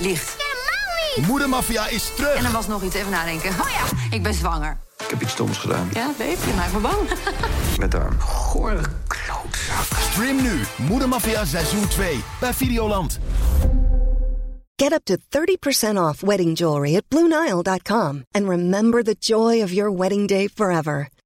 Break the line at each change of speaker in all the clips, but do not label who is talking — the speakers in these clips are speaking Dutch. ligt.
Moedermafia is terug.
En er was nog iets, even nadenken. Oh ja, ik ben zwanger.
Ik heb iets stoms gedaan.
Ja, babe, je maakt me bang.
Met haar gore klootzak.
Stream nu Moedermafia seizoen 2 bij Videoland.
Get up to 30% off wedding jewelry at BlueNile.com and remember the joy of your wedding day forever.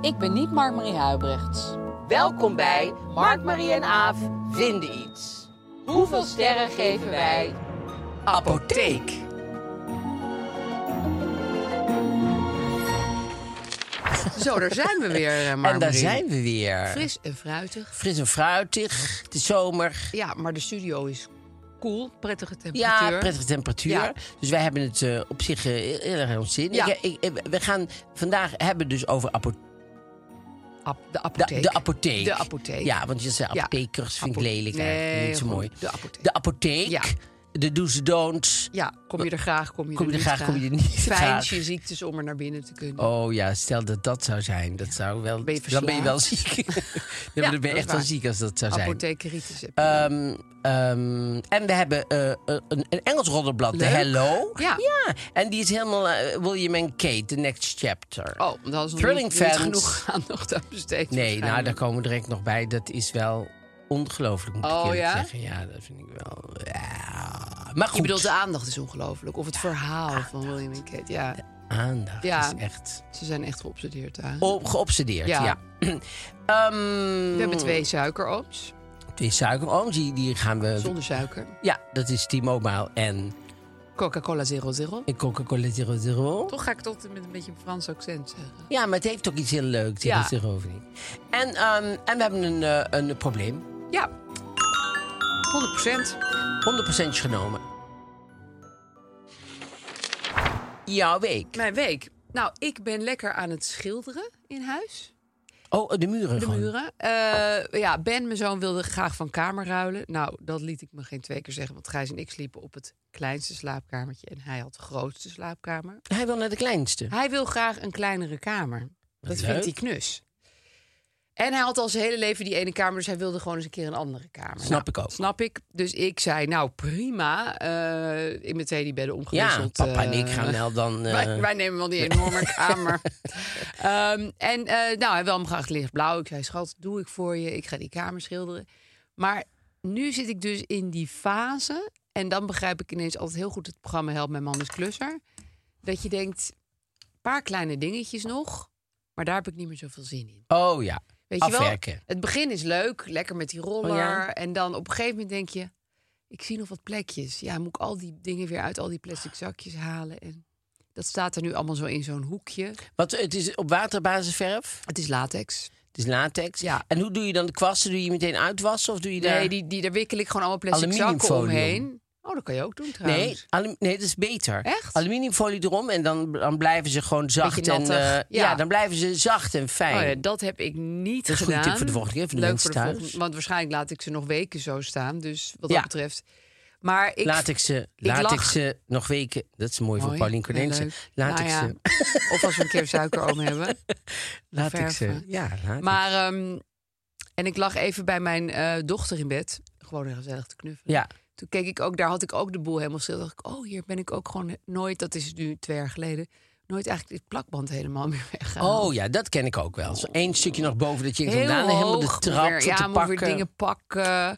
Ik ben niet Mark-Marie Huibrechts.
Welkom bij Mark, Marie en Aaf vinden iets. Hoeveel sterren geven wij? Apotheek.
Zo, daar zijn we weer, eh, Mark.
En daar zijn we weer. Fris,
Fris en fruitig.
en fruitig. Het is zomer.
Ja, maar de studio is cool. Prettige temperatuur.
Ja, prettige temperatuur.
Ja.
Dus wij hebben het eh, op zich eh, heel erg in ons zin.
Ja.
Ik- ik- eh, we gaan vandaag hebben dus over apo-
Ap- de
da-
apotheek.
de apotheek.
De apotheek.
Ja, want je zei
Ja.
apothekers vind ik
Apo-
lelijk.
Nee,
eigenlijk. niet zo
goed.
mooi.
De apotheek.
De apotheek.
Ja.
De do's en don'ts.
Ja, kom je er graag, kom je
Kom je
er
er
niet
graag, kom je er niet
Fijn
graag.
is je ziektes om er naar binnen te kunnen.
Oh ja, stel dat dat zou zijn. Dat zou wel,
Ben je
dan ben je wel
verslaafd?
ziek. dan
Ja,
ben
dat
je
is
echt wel
waar.
ziek als dat zou zijn.
Apothekeritis heb je.
Ehm, ehm, en we hebben eh, eh, een, een Engels roddelblad, de
Leuk.
Hello.
Ja.
En die is helemaal eh, William en Kate, The Next Chapter.
oh, dat is nog
Thrilling
niet, niet
fans.
genoeg aandacht aan besteed.
nee, nou, daar
waarschijnlijk.
komen we direct nog bij. Dat is wel ongelooflijk, moet
Oh,
ik eerlijk
ja?
zeggen. Ja, dat vind ik wel. Ja. Maar goed,
Je bedoelt, de aandacht is ongelooflijk. Of het verhaal van William en Kate. Ja,
aandacht
Ja.
is echt
ze zijn echt geobsedeerd daar.
o- geobsedeerd. Ja.
Ja.
Ehm,
We hebben twee suikerooms.
twee suikerooms, die, die gaan we...
Zonder suiker.
Ja, dat is T-Mobile en
Coca-Cola 00.
Coca-Cola Zero Zero.
Toch ga ik tot met een beetje een Frans accent zeggen.
Ja, maar het heeft ook iets heel leuks.
Ja.
Ja. Erover niet. En, ehm, en we hebben een, eh, een probleem.
Ja, 100
100% genomen. Jouw week.
Mijn week. Nou, ik ben lekker aan het schilderen in huis.
Oh, de muren
De
gewoon.
muren. Eh, ja, Ben, mijn zoon, wilde graag van kamer ruilen. Nou, dat liet ik me geen twee keer zeggen. Want Gijs en ik sliepen op het kleinste slaapkamertje. En hij had de grootste slaapkamer.
Hij wil naar de kleinste.
Hij wil graag een kleinere kamer. Dat
Leuk.
vindt hij knus. En hij had al zijn hele leven die ene kamer, dus hij wilde gewoon eens een keer een andere kamer. Nou,
Snap ik ook.
Snap ik. Dus ik zei, nou prima, eh in meteen die bedden
Ja,
omgewisseld.
papa en ik
eh,
gaan wel dan... eh,
wij, wij nemen wel die enorme kamer. Ehm, en eh, nou, hij wil hem graag lichtblauw. Ik zei, schat, doe ik voor je. Ik ga die kamer schilderen. Maar nu zit ik dus in die fase. En dan begrijp ik ineens altijd heel goed het programma Help Mijn Man is Klusser. Dat je denkt, een paar kleine dingetjes nog. Maar daar heb ik niet meer zoveel zin in.
Oh ja,
Weet
afwerken.
je wel? Het begin is leuk, lekker met die roller.
Oh ja.
En dan op een gegeven moment denk je... ik zie nog wat plekjes. Ja, moet ik al die dingen weer uit al die plastic zakjes halen? En dat staat er nu allemaal zo in zo'n hoekje.
Want het is op waterbasisverf.
Het is latex.
Het is latex.
Ja.
En hoe doe je dan de kwasten? Doe je meteen uitwassen? Of doe je daar...
Nee, die, die, daar wikkel ik gewoon allemaal plastic zakken
Aluminiumfolie
omheen. Oh, dat kan je ook doen trouwens.
Nee, alu- nee, dat is beter.
Echt?
Aluminiumfolie erom en dan, dan blijven ze gewoon zacht.
Beetje
En,
nattig.
eh, ja.
Ja.
dan blijven ze zacht en fijn.
Oh ja, dat heb ik niet
Dat is een goede
gedaan.
tip voor de volgende keer, voor de
Leuk
mensen
voor de
thuis.
volgende- Want waarschijnlijk laat ik ze nog weken zo staan. Dus wat
Ja.
dat betreft. Maar ik,
laat ik ze, laat
lag-
ik ze nog weken. Dat is mooi, van
Mooi.
Paulien
Ja,
Cornelissen.
leuk.
Laat
Nou
ik
ja.
ze.
Of als we een keer suikeroom hebben.
Laat ik ze.
verven.
Ja, laat ik
Maar, ehm, en ik lag even bij mijn eh, dochter in bed. Gewoon heel gezellig te knuffelen.
Ja.
Toen keek ik ook, daar had ik ook de boel helemaal stil. dacht ik, oh, hier ben ik ook gewoon nooit, dat is nu twee jaar geleden... nooit eigenlijk dit plakband helemaal meer weggehaald.
Oh ja, dat ken ik ook wel. Zo één stukje nog boven dat je
eh, Heel
vandaan helemaal de
hoog,
trap
weer,
zo
ja,
te
moet weer
pakken.
dingen pakken.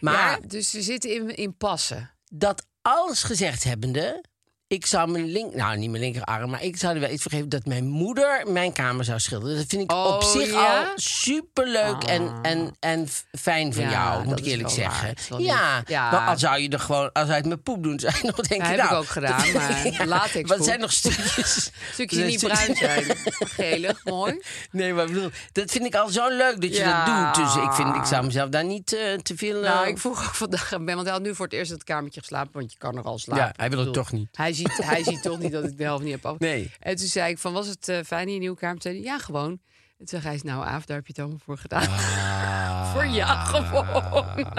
Maar-
Ja, dus ze zitten in, in passen.
Dat alles gezegd hebbende, Ik zou mijn link, nou niet mijn linkerarm, maar ik zou er wel iets vergeven dat mijn moeder mijn kamer zou schilderen. Dat vind ik
Oh,
op zich
ja? Ah.
al superleuk en, en, en f- fijn van
Ja,
jou,
dat
moet ik
is
eerlijk
wel waar.
zeggen.
Dat is wel
Ja,
lief. Ja.
Nou, al zou je er gewoon, als uit mijn poep doen, zou je nog denken,
heb ik
nou,
ook gedaan,
dat-
maar latexpoep.
Wat zijn nog stukjes?
Stukjes die niet bruin zijn. Gelig, mooi.
Nee, maar ik bedoel, dat vind ik al zo leuk dat je
Ja.
dat doet. Dus ik, vind, ik zou mezelf daar niet eh, te veel...
Nou,
eh,
ik vroeg ook vandaag aan Ben, want hij had nu voor het eerst in het kamertje geslapen, want je kan er al slapen.
Ja, hij wil het
Ik bedoel,
toch niet.
Hij ziet, hij ziet toch niet dat ik de helft niet heb af.
Nee.
En toen zei ik van, was het eh, fijn in je nieuwe kamer? Toen zei hij, ja, gewoon. En toen zei hij, nou Aaf, daar heb je het allemaal voor gedaan.
Ah.
voor ja, gewoon.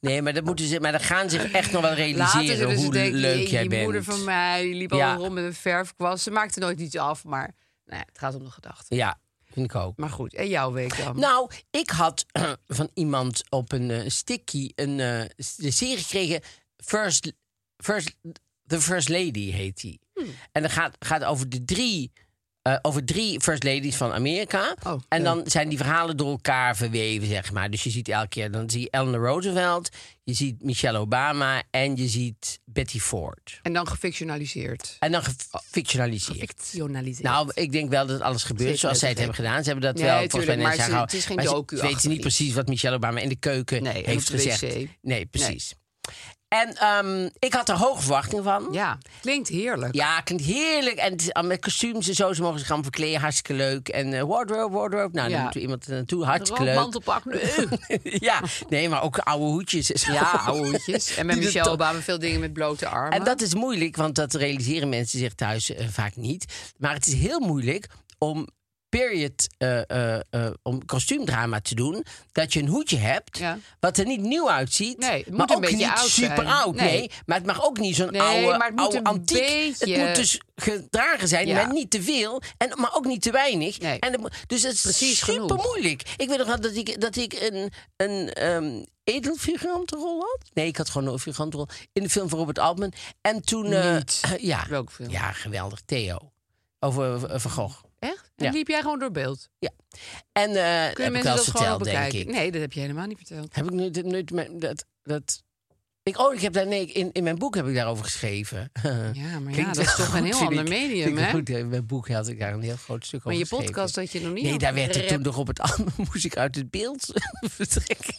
Nee, maar dat, moeten ze, maar dat gaan ze zich echt nog wel
Later
realiseren
zullen ze
hoe
denken,
leuk
"Jeetje,
jij
die
bent.
moeder van mij, die liep
Ja.
al rond met een verfkwast. Ze maakte nooit iets af, maar nou, ja, het gaat om de gedachte.
Ja, vind ik ook.
Maar goed, en jouw week dan?
Nou, ik had van iemand op een eh, sticky een eh, de serie gekregen. First, first, The First Lady heet die.
Hmm.
En dat gaat, gaat over de drie. eh, over drie First Ladies van Amerika.
Oh,
en
leuk.
dan zijn die verhalen door elkaar verweven, zeg maar. Dus je ziet elke keer, dan zie je Eleanor Roosevelt, je ziet Michelle Obama en je ziet Betty Ford.
en dan gefictionaliseerd.
En dan oh, gefictionaliseerd.
Fictionaliseerd.
Nou, ik denk wel dat alles gebeurt
Zeker,
zoals zij het
zeker.
hebben gedaan. Ze hebben dat
Nee,
wel
tuurlijk,
volgens mij
maar
netjes
ze-
aangehouden.
het is geen
Maar ze-
docu-achtig
Ze weten niet
iets.
precies wat Michelle Obama in de keuken
Nee, en op
heeft
de wc.
gezegd. Nee, precies. En ehm, ik had er hoge verwachtingen van.
ja, klinkt heerlijk.
Ja, klinkt heerlijk. En het is al met kostuums en zo, ze mogen zich gaan verkleden. Hartstikke leuk. En eh, wardrobe, wardrobe. Nou,
Ja.
dan moet er iemand er naartoe. Hartstikke
Rood
leuk.
mantelpak. Eh.
ja, nee, maar ook oude hoedjes. en zo.
Ja, oude hoedjes. En met
Die de
Michelle
to-
Obama veel dingen met blote armen.
En dat is moeilijk, want dat realiseren mensen zich thuis eh, vaak niet. Maar het is heel moeilijk om period, eh, eh, eh, om kostuumdrama te doen, dat je een hoedje hebt,
Ja.
wat er niet nieuw uitziet,
Nee, het moet
maar
een
ook
beetje
niet
oud zijn.
super oud. Nee.
Nee.
maar het mag ook niet zo'n
Nee,
oude,
maar het moet
oude
een
antiek.
beetje-
Het moet dus gedragen zijn,
Ja.
maar niet te veel, en, maar ook niet te weinig.
Nee.
En het moet- dus het is
Precies
super
genoeg.
moeilijk. Ik weet nog wel dat ik, dat ik een, een ehm edelfigurantenrol had. Nee, ik had gewoon een figurantenrol in de film van Robert Altman. En toen... eh,
Niet.
ja.
Welke film?
Ja, geweldig. Theo. Over eh, Van Gogh.
Echt? En
Ja.
liep jij gewoon door beeld?
Ja. En eh heb
Kun je
ik
mensen
wel eens
dat gewoon
verteld, denk
bekijken?
ik.
Nee, dat heb je helemaal niet verteld.
Heb ik nu, dit- nu dit- dat, dat... Ik, oh, ik heb daar... Nee, in, in mijn boek heb ik daarover geschreven.
Ja, maar ja,
Klinkt
dat is
wel
toch een
goed,
heel
vind
ander
ik.
medium,
Vind ik
hè?
Goed, in mijn boek had ik daar een heel groot stuk over
Maar je
geschreven.
podcast dat je nog niet
Nee,
had
daar werd er
gerep.
toen nog op het andere moest ik uit het beeld vertrekken.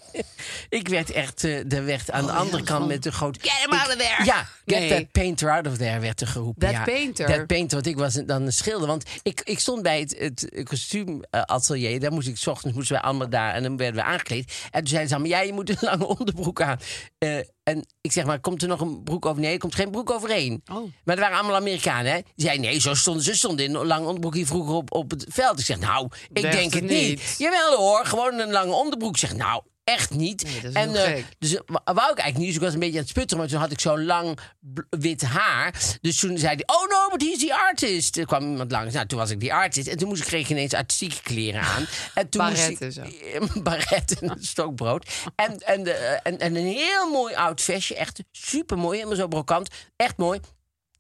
Ik werd echt, eh, er werd aan de andere kant met de grote...
Oh, Get him out of there!
Ja, get
Nee.
that painter out of there werd er geroepen.
That
ja.
painter.
That painter, want ik was een- dan een schilder. Want ik, ik stond bij het, het kostuumatelier. Daar moest ik, s ochtends moesten wij allemaal daar. En dan werden we aangekleed. En toen zeiden ze allemaal, ja, je moet een lange onderbroek aan. Eh, en ik zeg maar, komt er nog een broek over? Nee, er komt geen broek overheen.
Oh.
Maar er waren allemaal Amerikanen, hè? Die zeiden, nee, zo stonden ze stonden in een lange onderbroek hier vroeger op, op het veld. Ik zeg, nou, ik
Dacht
denk
het
het niet.
niet.
Jawel hoor, gewoon een lange onderbroek. Ik zeg, nou, echt niet.
Nee, dat is
en
heel
eh,
gek.
dus eh, wa- wou ik eigenlijk niet, dus ik was een beetje aan het sputteren. Maar toen had ik zo'n lang bl- wit haar. Dus toen zei hij, oh no, but he's the artist. Er kwam iemand langs. Nou, toen was ik die artist. En toen moest ik, kreeg ik ineens artistieke kleren aan. En toen moest ik-
Barretten zo.
Barret en een stokbrood. En, en, de, eh, en, en een heel mooi oud vestje. Echt super mooi. Helemaal zo brokant. Echt mooi.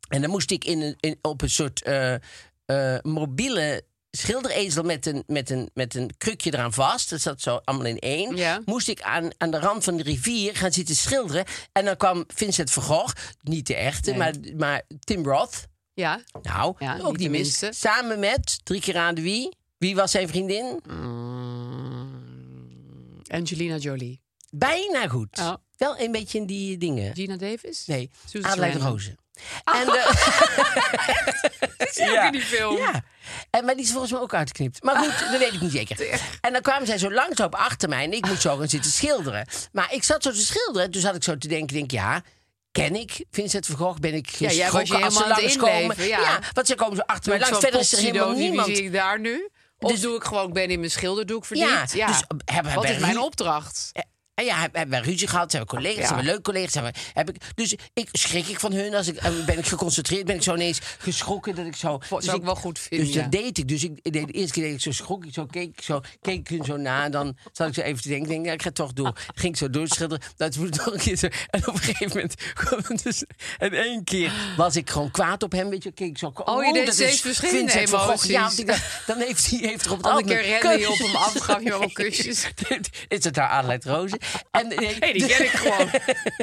En dan moest ik in een, in, op een soort eh, eh, mobiele schilderezel met een, met, een, met een krukje eraan vast. Dat zat zo allemaal in één.
Ja.
Moest ik aan, aan de rand van de rivier gaan zitten schilderen. En dan kwam Vincent van Gogh. Niet de echte,
Nee.
maar, maar Tim Roth.
Ja,
Nou,
Ja,
ook
niet
niet
de
mis.
minste.
Samen met, drie keer aan de wie? Wie was zijn vriendin?
Angelina Jolie.
Bijna goed.
Oh.
Wel een beetje in die dingen.
Gina Davis?
Nee,
Susan
Adelheid
Sarandon.
Rozen.
Ah.
En de... ja.
in die film.
Ja. En, maar die is volgens mij ook uitgeknipt. Maar goed, dat weet ik niet zeker. En dan kwamen zij zo langzaam achter mij en ik moest zo gaan zitten schilderen. Maar ik zat zo te schilderen, dus had ik zo te denken, denk ja... Ken ik Vincent van Gogh? Ben ik
jij was je
geschrokken als ze
helemaal aan het
langskomen?
inleven, ja.
want ze komen zo achter mij
Doe ik
langs.
zo'n
Verder is er helemaal
popsidootje,
niemand. Dus-
Wie zie ik daar nu? Of doe ik gewoon, ik ben in mijn schilderdoek verdiend?
Ja, dus hebben
Wat
wij
is mijn
ru-
opdracht?
Eh, En ja, heb- hebben we ruzie gehad, hebben we collega's,
Ja.
hebben we leuke collega's. Hebben, we- heb ik, dus ik, schrik ik van hun, als ik, en ben ik geconcentreerd, ben ik zo ineens geschrokken dat ik zo...
Zou
dus
ik wel goed vinden,
Dus
ja.
dat deed ik. Dus ik, ik deed, de eerste keer deed ik zo schrok, ik zo keek, ik zo, keek ik hun zo na. En dan zat ik zo even te denken, denk, ja, ik ga toch door. Ging ik zo doorschilderen. Dat moet nog een keer zo. En op een gegeven moment kwam het dus... En één keer was ik gewoon kwaad op hem, weet je. Keek ik zo, oh,
je deed
dat
steeds
is
verschillende
Vincent van Gogh.
emoties.
Ja, want ik dacht, dan heeft hij heeft er op het
Andere
andere
keer rende je
keuzes.
op hem af, gaf je hem allemaal
Nee.
kusjes.
Is het daar Adelheid Rozen? En, nee,
Ah, die ken ik gewoon.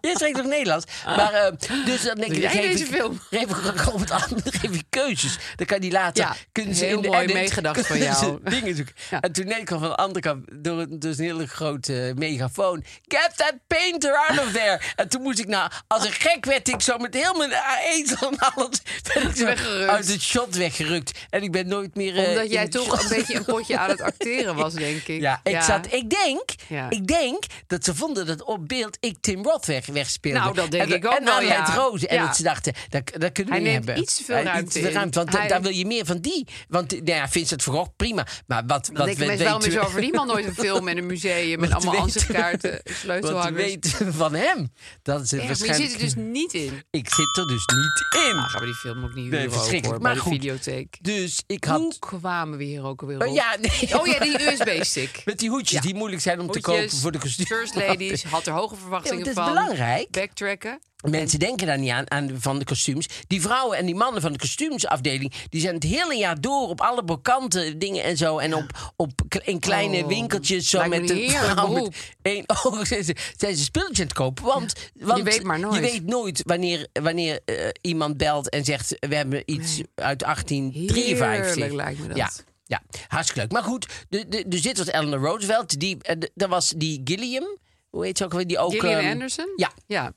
Jij spreekt toch Nederlands? Maar, eh, dus dan denk ik,
Doe
dan
jij
geef
deze
ik,
film?
geef ik gewoon wat aan, dan geef ik keuzes. Dan kan die later,
Ja,
kunnen ze
heel
in de
mooi
edit,
meegedacht van
kunnen ze
jou.
Dingen zoeken.
Ja.
En toen deed ik al van de andere kant, door een- dus een hele grote megafoon, get that painter out of there. En toen moest ik nou, als een gek werd ik zo met heel mijn ezel en alles, ben ik zo
Weggerukt.
uit het shot weggerukt. En ik ben nooit meer... eh,
Omdat
in
jij
het
toch een
shot-
beetje een potje aan het acteren was, denk ik.
ja, ik, Zat, ik, denk,
Ja.
ik denk dat ze vonden dat op beeld ik Tim Roth weg, wegspeelde.
Nou, dat denk
en,
ik ook
En
wel, ja.
Anne-Heid Rozen. En
Ja.
dat ze dachten, dat, dat kunnen we
Hij
niet
neemt
hebben.
iets te veel
Hij-
ruimte
te veel
in.
want da-
Hij-
daar wil je meer van die. Want eh, nou ja, Vincent van Gogh, prima. Maar wat,
Dan
wat
denk
we
ik mensen wel
weten
meer zo
we-
over die man nooit een film en een museum en
wat
allemaal
weten we-
ansichtkaarten,
Wat
sleutelhangers.
weten we van hem? Dat is het
Erg, maar je
waarschijnlijk...
zit er dus niet in.
Ik zit er dus niet in.
Nou, gaan we die film ook niet
Nee,
huren ook,
verschrikkelijk.
hoor,
Maar
bij
goed.
de videotheek.
Dus ik had...
Hoe kwamen we hier ook alweer op?
Oh, ja, nee.
Oh ja, die USB-stick.
Met die hoedjes
Ja.
die moeilijk zijn om te
Hoedjes,
kopen voor de kostuum.
First ladies, had er hoge verwachtingen
Ja,
van.
want dat is belangrijk.
Backtracken.
Mensen denken daar niet aan, aan van de kostuums. Die vrouwen en die mannen van de kostuumsafdeling... die zijn het hele jaar door op alle brokanten dingen en zo. En op, op, k- in kleine
Oh,
winkeltjes. Zo
lijkt me
met
een
een
heerlijk
vrouw met
beroep.
één oog. Zijn ze, zijn ze spulletjes aan het kopen. Want, want
weet maar nooit.
Je weet nooit wanneer, wanneer eh, iemand belt en zegt... we hebben iets uit 1853.
Heerlijk lijkt me dat.
Ja. Ja, hartstikke leuk. Maar goed, de, de, dus dit was Eleanor Roosevelt. Die, eh, de- dat was die Gilliam. Hoe heet ze ook alweer? Die ook,
Gillian
ehm,
Anderson?
Ja,
Ja.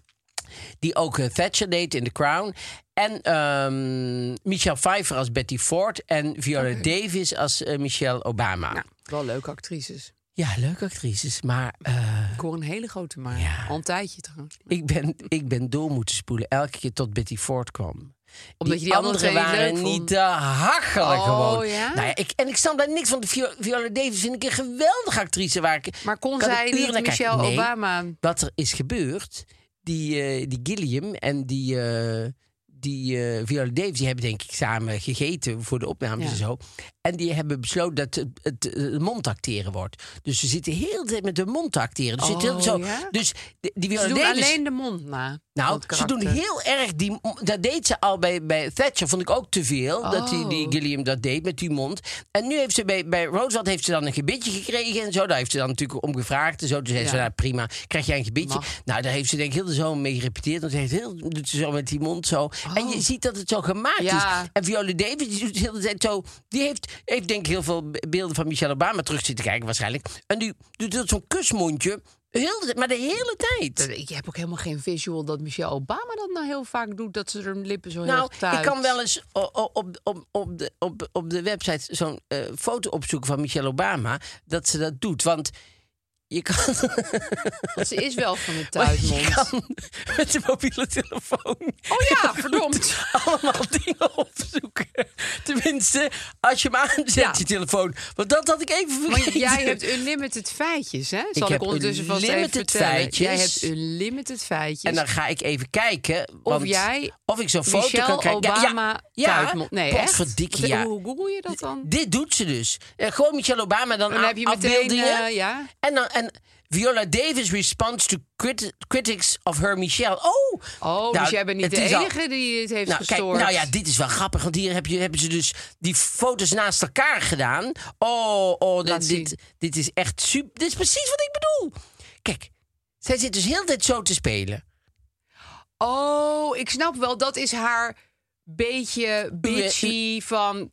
die ook eh, Thatcher deed in The Crown. En ehm, Michelle Pfeiffer als Betty Ford. En Viola Davis als eh, Michelle Obama.
Nou, wel leuke actrices.
Ja, leuke actrices. Maar eh,
Ik hoor een hele grote maar. Al een tijdje trouwens.
ik, ben, ik ben door moeten spoelen elke keer tot Betty Ford kwam.
Omdat je die andere
anderen
twee niet
waren
leuk vond.
niet te hachelen
Oh,
gewoon.
ja?
Nou ja, ik, en ik snap daar niks van. Vio- Viola Davis vind ik een geweldige actrice. Waar ik,
Maar kon
kan ik
zij
uren
niet
naar kijken.
Michelle
Nee.
Obama...
wat er is gebeurd, die, eh, die Gilliam en die, eh, die eh, Viola Davis, die hebben denk ik samen gegeten voor de opnames
Ja.
en zo. En die hebben besloten dat het, het, eh, mondacteren wordt. Dus ze zitten heel de tijd met hun mond te acteren. Dus, ze zitten
Oh,
heel- zo,
ja?
dus die, die
Ze
Viola
doen
Davis...
alleen de mond na.
Nou,
dat
ze doen
karakter.
heel erg die. Dat deed ze al bij, bij Thatcher, vond ik ook te veel. Dat die, die
Oh.
Gilliam dat deed met die mond. En nu heeft ze bij, bij Roosevelt heeft ze dan een gebitje gekregen en zo. Daar heeft ze dan natuurlijk om gevraagd en zo. Toen zei ze:
Ja.
nou, prima, krijg jij een gebitje?
Mag.
Nou, daar heeft ze denk ik heel de zomer mee gerepeteerd. Want ze heeft heel, doet ze zo met die mond zo. En je ziet dat het zo gemaakt
Oh. Ja.
is. En Viola Davis, die doet heel de tijd zo. Die heeft, heeft denk ik heel veel be- beelden van Michelle Obama terug zitten kijken, waarschijnlijk. En die doet dat zo'n kusmondje. Heel de, tijd, maar de hele tijd.
Dat- Ik heb ook helemaal geen visual dat Michelle Obama dat nou heel vaak doet. Dat ze haar lippen zo heel
Nou,
erg tuit.
ik kan wel eens o- o- op, op, op, de, op, op de website zo'n eh, foto opzoeken van Michelle Obama. Dat ze dat doet. Want je kan,
Want ze is wel van de
je
tuitmond.
kan met de mobiele telefoon.
Oh ja, verdomd.
Allemaal dingen opzoeken. Tenminste, als je hem aanzet,
Ja.
je telefoon. Want dat had ik even
Want
vergeten.
jij hebt unlimited feitjes, hè? Zal ik,
heb
ondertussen vast even
unlimited
vertellen.
feitjes.
Jij hebt unlimited feitjes.
En dan ga ik even kijken. want-
jij
Of ik zo'n foto
Michelle
kan kijken. Ja, ja,
Obama
ja,
tuitmond. Nee,
potverdikkie,
echt? Wat-
ja.
Hoe google je dat dan?
Dit doet ze dus. Eh, gewoon Michelle Obama dan,
dan
a-
heb je meteen,
afbeeldingen.
eh, ja.
En dan en Viola Davis responds to crit- critics of her Michelle. Oh,
Oh,
Nou,
dus jij bent niet
het
de
is al-
enige die het heeft
nou, kijk,
gestoord.
nou ja, dit is wel grappig, want hier heb je, hebben ze dus die foto's naast elkaar gedaan. Oh, oh
Laat
dit, dit,
zien.
dit is echt super. Dit is precies wat ik bedoel. Kijk, zij zit dus heel de tijd zo te spelen.
Oh, ik snap wel. Dat is haar beetje bitchy van...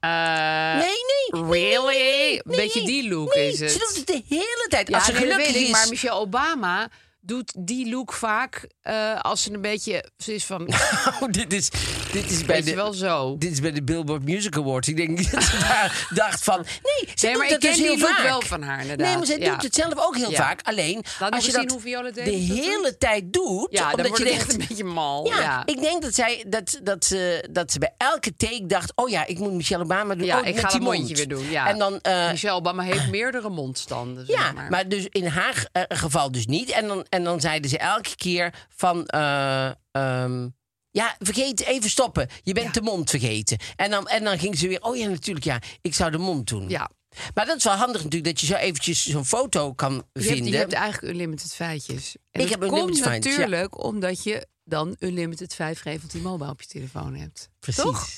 eh,
nee, nee. nee, nee,
really?
nee, nee,
Een beetje
nee,
die look
nee.
is het.
Ze doet het de hele tijd.
Ja,
Als ze
nee, dat
gelukkig
weet ik,
is.
maar Michelle Obama doet die look vaak eh, als ze een beetje... Ze is van,
Oh, dit is, dit is bij
weet je
de...
wel zo.
Dit is bij de Billboard Music Awards. Ik denk dat ze daar dacht van... Nee, ze
Nee, maar
doet
ik
dat dus
ken die
heel
look
vaak.
wel van haar, inderdaad.
Nee, maar zij
Ja.
doet het zelf ook heel
Ja.
vaak. Alleen,
Laat
als
eens
je
zien
dat
hoe Viola
de
Davis dat doet.
hele tijd doet...
Ja, dan
omdat
wordt
je
het
denkt,
echt een beetje mal.
Ja,
Ja,
ik denk dat, zij, dat, dat, ze, dat ze bij elke take dacht... oh ja, ik moet Michelle Obama doen.
Ja,
oh,
ik
met
ga
die
dat
mond.
mondje weer doen. Ja.
En dan... eh,
Michelle Obama heeft meerdere mondstanden, zeg
ja,
maar.
maar. dus in haar eh, geval dus niet. En dan, en dan zeiden ze elke keer van... eh, ehm, ja, vergeet even stoppen. Je bent de mond vergeten. En dan, en dan ging ze weer... Oh ja, natuurlijk, ja. Ik zou de mond doen.
Ja.
Maar dat is wel handig natuurlijk, dat je zo eventjes zo'n foto kan
Je hebt,
vinden.
je hebt eigenlijk unlimited feitjes. En
Ik
dat
heb unlimited
komt
feitjes, ja.
natuurlijk omdat je dan unlimited 5G van T-Mobile op je telefoon hebt.
Precies.
Toch?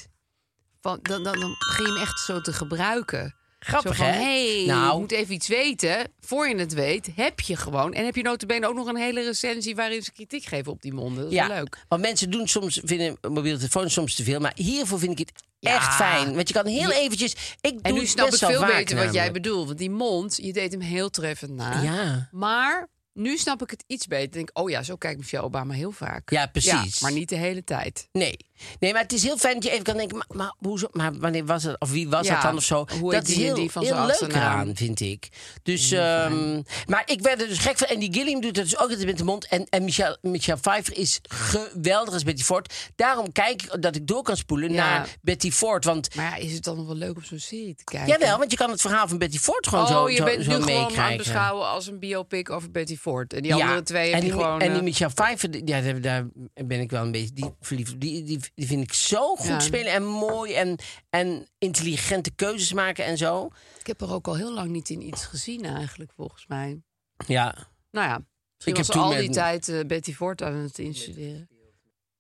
Van, dan, dan, dan begin je hem echt zo te gebruiken.
Grappig,
Zo van,
hè?
hey,
nou,
je moet even iets weten. Voor je het weet, heb je gewoon. En heb je notabene ook nog een hele recensie waarin ze kritiek geven op die monden. Dat is wel leuk.
Want mensen doen soms, vinden mobiele telefoons soms te veel. Maar hiervoor vind ik het
Ja.
echt fijn. Want je kan heel eventjes... Ik
En
doe
nu
het
snap ik
best wel
veel
vaak
beter wat jij
namelijk.
bedoelt. Want die mond, je deed hem heel treffend na.
Ja.
Maar nu snap ik het iets beter. Ik denk, oh ja, zo kijkt Michelle Obama heel vaak.
Ja, precies.
maar niet de hele tijd.
Nee. nee, maar het is heel fijn dat je even kan denken... maar, maar, hoezo, maar wanneer was het? Of wie was
Ja,
dat dan? Of zo.
hoe heet
dat is
die en
heel,
die van
heel
zijn
leuk
achternaam?
eraan, vind ik. Dus, ehm, maar ik werd er dus gek van. En die Gilliam doet dat dus ook altijd met de mond. En, en Michelle, Michelle Pfeiffer is geweldig als Betty Ford. Daarom kijk ik dat ik door kan spoelen
Ja.
naar Betty Ford. Want
Maar ja, is het dan nog wel leuk om zo'n serie te kijken?
Jawel, want je kan het verhaal van Betty Ford gewoon
Oh,
zo,
je
zo,
bent
zo
nu gewoon aan het
meekrijgen.
beschouwen als een biopic over Betty Ford. En die andere twee
en
heb je
die,
gewoon...
En die
eh,
Michelle Pfeiffer, die- ja, daar, daar ben ik wel een beetje die verliefd op. Die, die, die vind ik zo goed
Ja.
spelen en mooi en, en intelligente keuzes maken en zo.
Ik heb er ook al heel lang niet in iets gezien eigenlijk, volgens mij.
Ja,
Nou ja,
Ik
ik
heb
was ze
toen
al
met-
die tijd eh, Betty Ford aan het instuderen.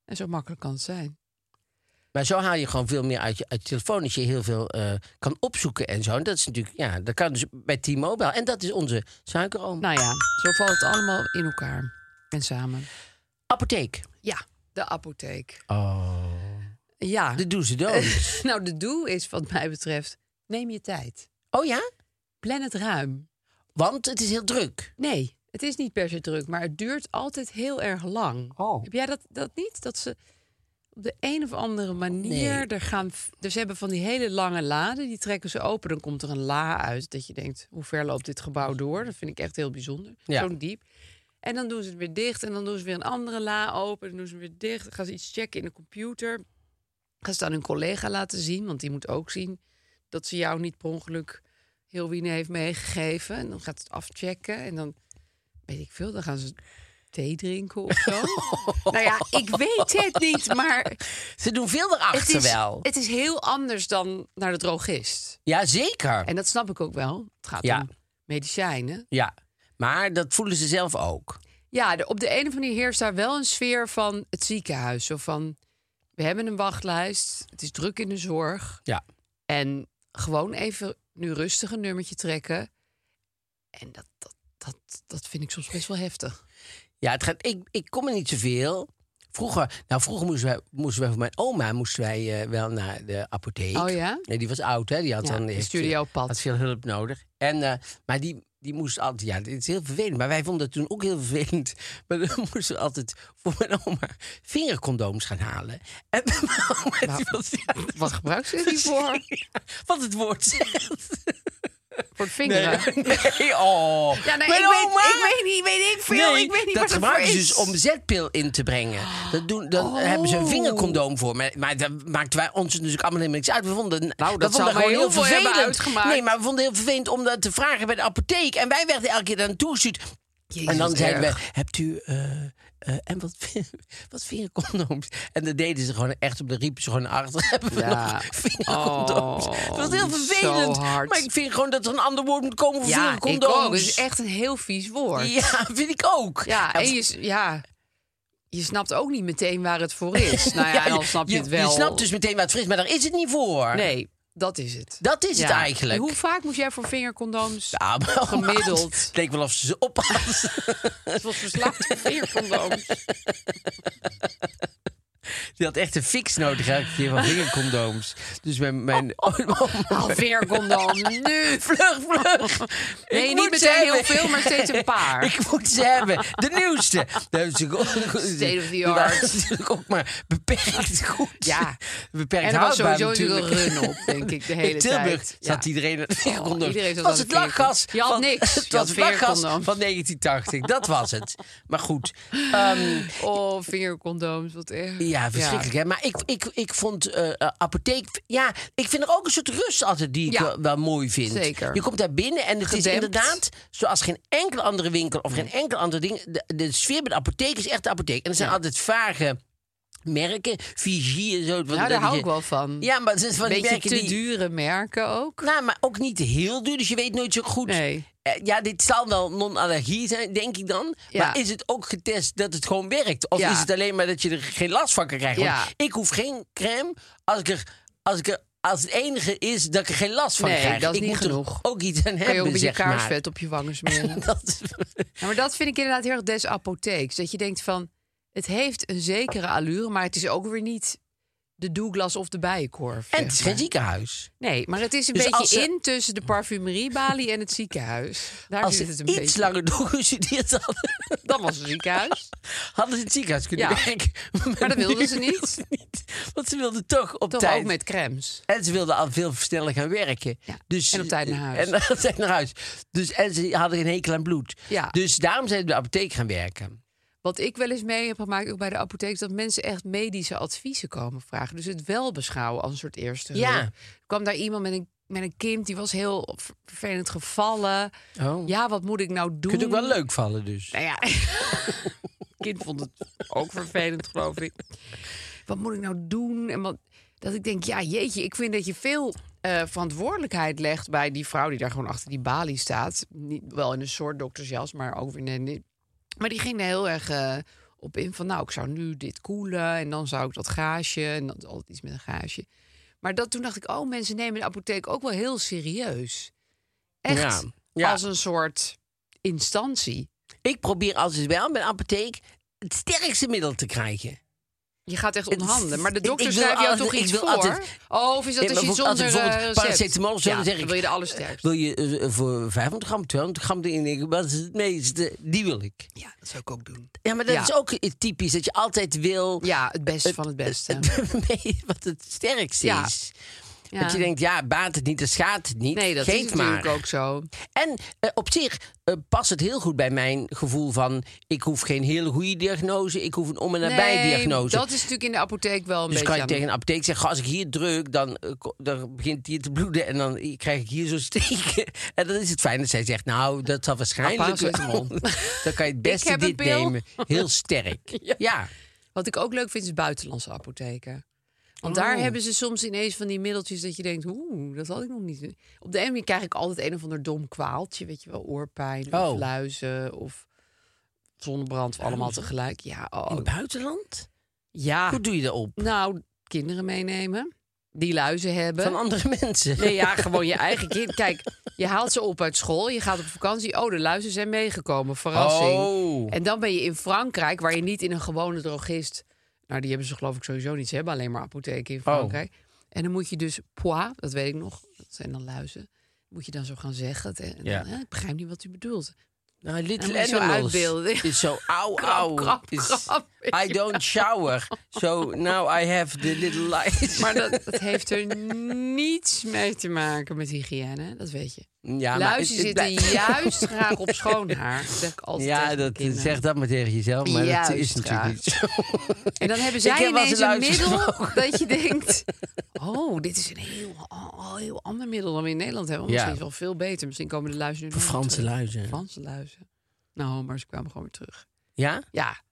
En zo makkelijk kan het zijn.
maar zo haal je gewoon veel meer uit je, uit je telefoon. Dat je heel veel eh, kan opzoeken en zo. En dat is natuurlijk, ja, dat kan dus bij T-Mobile. En dat is onze suikeroom.
Nou ja, zo valt het allemaal in elkaar. En samen.
Apotheek.
Ja, de apotheek.
Oh.
Ja,
De do's en don'ts.
nou de doel is wat mij betreft, neem je tijd.
oh ja?
Plan het ruim.
Want het is heel druk.
Nee, het is niet per se druk, maar het duurt altijd heel erg lang.
Oh.
Heb jij dat, dat niet? Dat ze op de een of andere manier
Nee.
er gaan. Dus ze hebben van die hele lange laden, die trekken ze open. Dan komt er een la uit. Dat je denkt, hoe ver loopt dit gebouw door? Dat vind ik echt heel bijzonder.
Ja.
Zo'n diep. En dan doen ze het weer dicht. En dan doen ze weer een andere la open. Dan doen ze hem weer dicht. Dan gaan ze iets checken in de computer. Gaan ze het aan hun collega laten zien. Want die moet ook zien dat ze jou niet per ongeluk heel Wien heeft meegegeven. En dan gaat ze het afchecken. En dan, weet ik veel, dan gaan ze thee drinken of zo. nou ja, ik weet het niet. Maar
Ze doen veel erachter
het is,
wel.
het is heel anders dan naar de drogist.
Ja, zeker.
En dat snap ik ook wel. Het gaat
Ja.
om medicijnen.
Ja, maar dat voelen ze zelf ook.
Ja, de- op de een of andere manier heerst daar wel een sfeer van het ziekenhuis. Zo van, we hebben een wachtlijst, het is druk in de zorg.
Ja.
En gewoon even nu rustig een nummertje trekken. En dat, dat, dat, dat vind ik soms best wel heftig.
Ja, het gaat, ik, ik kom er niet zoveel. Vroeger, nou, vroeger moesten wij, moesten wij voor mijn oma moesten wij, eh, wel naar de apotheek.
Oh ja?
Nee, die was oud, hè? Die had
Ja,
dan
die
heeft,
stuurde
eh,
jou op pad.
Had veel hulp nodig. En, eh, maar die, die moest altijd, ja, het is heel vervelend. Maar wij vonden het toen ook heel vervelend. Maar dan moesten we altijd voor mijn oma vingercondooms gaan halen. En mijn oma, die was, ja,
Wat gebruikt ze die voor?
wat het woord zegt.
Voor het vingeren?
nee, oh.
Ja, nee,
Mijn
ik, weet,
oma!
ik weet niet, weet ik veel.
Nee,
ik weet niet
dat
wat het
gebruiken
voor
ze
is. Oh.
dus om zetpil in te brengen. Dat doen, dan hebben ze een vingercondoom voor. Maar, maar daar maakten wij ons natuurlijk allemaal helemaal niks uit. We vonden, we
Nou, dat
vonden
zou mij
gewoon
heel veel hebben
vervelend.
uitgemaakt.
Nee, maar we vonden heel vervelend om dat te vragen bij de apotheek. En wij werden elke keer daar naartoe gestuurd.
Jezus,
en dan
wat
zeiden
erg.
we, hebt u... eh, eh, en wat, wat vingercondooms? En dat deden ze gewoon echt op de riepen ze gewoon achter. Hebben we
Ja.
nog vingercondooms?
Oh,
dat was heel
zo
vervelend.
hard.
Maar ik vind gewoon dat er een ander woord moet komen voor
Ja, ik
vingercondooms.
ook. Het is echt een heel vies woord.
Ja, vind ik ook.
Ja,
En
en je, s- ja, je snapt ook niet meteen waar het voor is. Nou ja, en dan snap je, het wel.
Je snapt dus meteen wat fris, maar daar is het niet voor.
Nee, dat is het.
Dat is het
Ja.
eigenlijk.
En hoe vaak moest jij voor vingercondooms?
Ja, maar-
Gemiddeld.
Het leek wel of ze ze op had.
Het was verslaafd aan vingercondooms.
Die had echt een fix nodig elke keer van vingercondooms. Dus mijn... mijn oh,
Al vingercondoom, Nou, nu!
Vlug, vlug.
Nee,
Ik
niet
moet
meteen
ze
heel
hebben.
veel, maar steeds een paar.
Ik moet ze hebben. De nieuwste. Daar is natuurlijk ook-
State of the
die waren
art.
natuurlijk ook maar beperkt goed.
Ja.
Beperkt
En er was
houdbaar
sowieso natuurlijk een run op, denk ik, de hele
In Tilburg
tijd. Ja. Oh,
zat iedereen het vingercondoom.
iedereen zat
Het
aan
was
de
het lachgas.
vingercondoom. Je had
van-
niks.
Het
Je had
was het lachgas
vingercondoom.
van 1980. Dat was het. Maar goed. ehm,
Oh, vingercondooms, wat erg.
ja, verschrikkelijk. Hè? Maar ik, ik, ik vond eh, eh, apotheek... Ja, ik vind er ook een soort rust altijd die ik
Ja.
wel, wel mooi vind.
Zeker.
Je komt daar binnen en het is
Gedempt.
inderdaad... zoals geen enkele andere winkel of geen enkel ander ding... De, de sfeer bij de apotheek is echt de apotheek. En er zijn altijd vage merken. Vigie en zo.
Ja. Nou, daar hou ik wel van.
Ja, maar het is van die
Beetje
merken
te
die...
dure merken ook.
Nou, maar ook niet heel duur. Dus je weet nooit zo goed...
Nee.
Eh, Ja, dit zal wel non-allergie zijn, denk ik dan.
Ja.
Maar is het ook getest dat het gewoon werkt? Of
Ja.
is het alleen maar dat je er geen last van kan krijgen? Want
Ja.
ik hoef geen crème als ik er, als ik er als het enige is dat ik er geen last van
Nee,
krijg.
dat is
ik
niet
moet er
genoeg.
ook iets aan
Kan je ook een
hebben,
beetje
zeg maar.
kaarsvet op je wangen smeren.
Dat,
Ja, maar dat vind ik inderdaad heel erg des apotheeks. Dat je denkt van, het heeft een zekere allure, maar het is ook weer niet de Douglas of de
en
bijenkorf. zeg
het is
maar.
geen ziekenhuis.
Nee, maar het is een
Dus
beetje
als ze-
in tussen de parfumeriebalie en het ziekenhuis. Daar
Als
zit
ze
het een
iets
beetje.
langer doorgestudeerd hadden,
Dan was het ziekenhuis.
hadden ze in het ziekenhuis kunnen
Ja.
werken.
Maar dat wilden
nu
ze niet.
wilden ze niet. Want ze wilden toch op
Toch
tijd.
ook met crèmes.
En ze wilden al veel sneller gaan werken.
Ja,
Dus,
en op tijd naar huis.
En op tijd naar huis. Dus, en ze hadden geen hekel aan bloed.
Ja.
Dus daarom zijn ze bij de apotheek gaan werken.
Wat ik wel eens mee heb gemaakt, ook bij de apotheek, is dat mensen echt medische adviezen komen vragen. Dus het wel beschouwen als een soort eerste.
Ja.
hulp. Er kwam daar iemand met een, met een kind, die was heel ver- vervelend gevallen.
Oh.
Ja, wat moet ik nou doen?
Kunt ook wel leuk vallen dus.
Nou ja, kind vond het ook vervelend, geloof ik. Wat moet ik nou doen? En wat, dat ik denk, ja, jeetje, ik vind dat je veel eh, verantwoordelijkheid legt bij die vrouw die daar gewoon achter die balie staat. Niet, wel in een soort doktersjas, maar ook weer net niet. Maar die ging er heel erg eh, op in van, nou, ik zou nu dit koelen en dan zou ik dat gaasje en dan altijd iets met een gaasje. Maar dat, toen dacht ik, oh, mensen nemen de apotheek ook wel heel serieus. Echt
Ja, ja.
als een soort instantie.
Ik probeer als het wel met de apotheek het sterkste middel te krijgen.
Je gaat echt onhanden. Maar de
Ik- ik
dokter
wil
schrijft jou
altijd-
toch
ik
iets
wil
voor?
altijd-
oh, of is dat
Ja,
als je
maar bijvoorbeeld
zonder
altijd
eh,
bijvoorbeeld
recept?
paracetamol, zo
Ja,
dan zeg ik-
wil je de allersterkste.
Wil je eh, voor 500 gram, 200 gram erin denken, wat is het meeste? Die wil ik.
Ja, dat zou ik ook doen.
Ja, maar dat
Ja.
is ook eh, typisch, dat je altijd wil
Ja, het beste van het beste.
mee wat het sterkste
Ja.
is.
Ja.
Dat je denkt, ja, baat het niet, dan schaadt het niet.
nee, dat
Geef
is
maar.
natuurlijk ook zo.
En eh, op zich eh, past het heel goed bij mijn gevoel van... ik hoef geen hele goede diagnose, ik hoef een om- en nabij-diagnose.
dat is natuurlijk in de apotheek wel een
dus
beetje
kan je
aan-
tegen een apotheek zeggen, als ik hier druk, dan, eh, ko- dan begint hier te bloeden... en dan i- krijg ik hier zo'n steken. En dan is het fijn dat zij zegt, nou, dat zal waarschijnlijk...
Paracetamol.
dan kan je het
Ik
beste
heb een
dit
pil.
nemen. Heel sterk. ja.
Wat ik ook leuk vind, is buitenlandse apotheken. Want
Oh.
daar hebben ze soms ineens van die middeltjes dat je denkt, oeh, dat had ik nog niet. Op de MI krijg ik altijd een of ander dom kwaaltje, weet je wel, oorpijn
Oh.
of luizen of zonnebrand, of allemaal tegelijk. Ja,
In
oh,
het buitenland?
ja.
Hoe doe je dat op?
Nou, kinderen meenemen die luizen hebben.
Van andere mensen?
Nee, ja, gewoon je eigen kind. Kijk, je haalt ze op uit school, je gaat op vakantie. Oh, de luizen zijn meegekomen. Verrassing.
Oh.
En dan ben je in Frankrijk, waar je niet in een gewone drogist. Nou, die hebben ze geloof ik sowieso niet. Ze hebben alleen maar
Oh.
apotheken in Frankrijk. En dan moet je dus pois, dat weet ik nog, dat zijn dan luizen. Moet je dan zo gaan zeggen. En dan,
Ja.
hè, ik begrijp niet wat u bedoelt.
Nou,
Dan
Little
moet je zo
Animals
uitbeelden.
is zo auw,
Krap,
auw.
krap,
is,
krap.
I don't shower, so now I have the little lights.
Maar dat, dat heeft er niets mee te maken met hygiëne, dat weet je.
ja, maar
Luizen
het- het
zitten
blijft-
juist graag op schoon haar. Dat zeg ik altijd
Ja,
tegen mijn
dat,
kinderen.
zeg dat maar tegen jezelf, maar dat is
Juist,
natuurlijk niet zo.
En dan hebben zij
heb wel eens
ineens
een
een
luis
middel dat je denkt... oh, dit is een heel, oh, heel ander middel dan we in Nederland hebben.
Ja.
Misschien is het wel veel beter. Misschien komen de luizen nu nog
Franse
terug.
luizen.
Franse luizen. Nou, maar ze kwamen gewoon weer terug.
Ja?
Ja.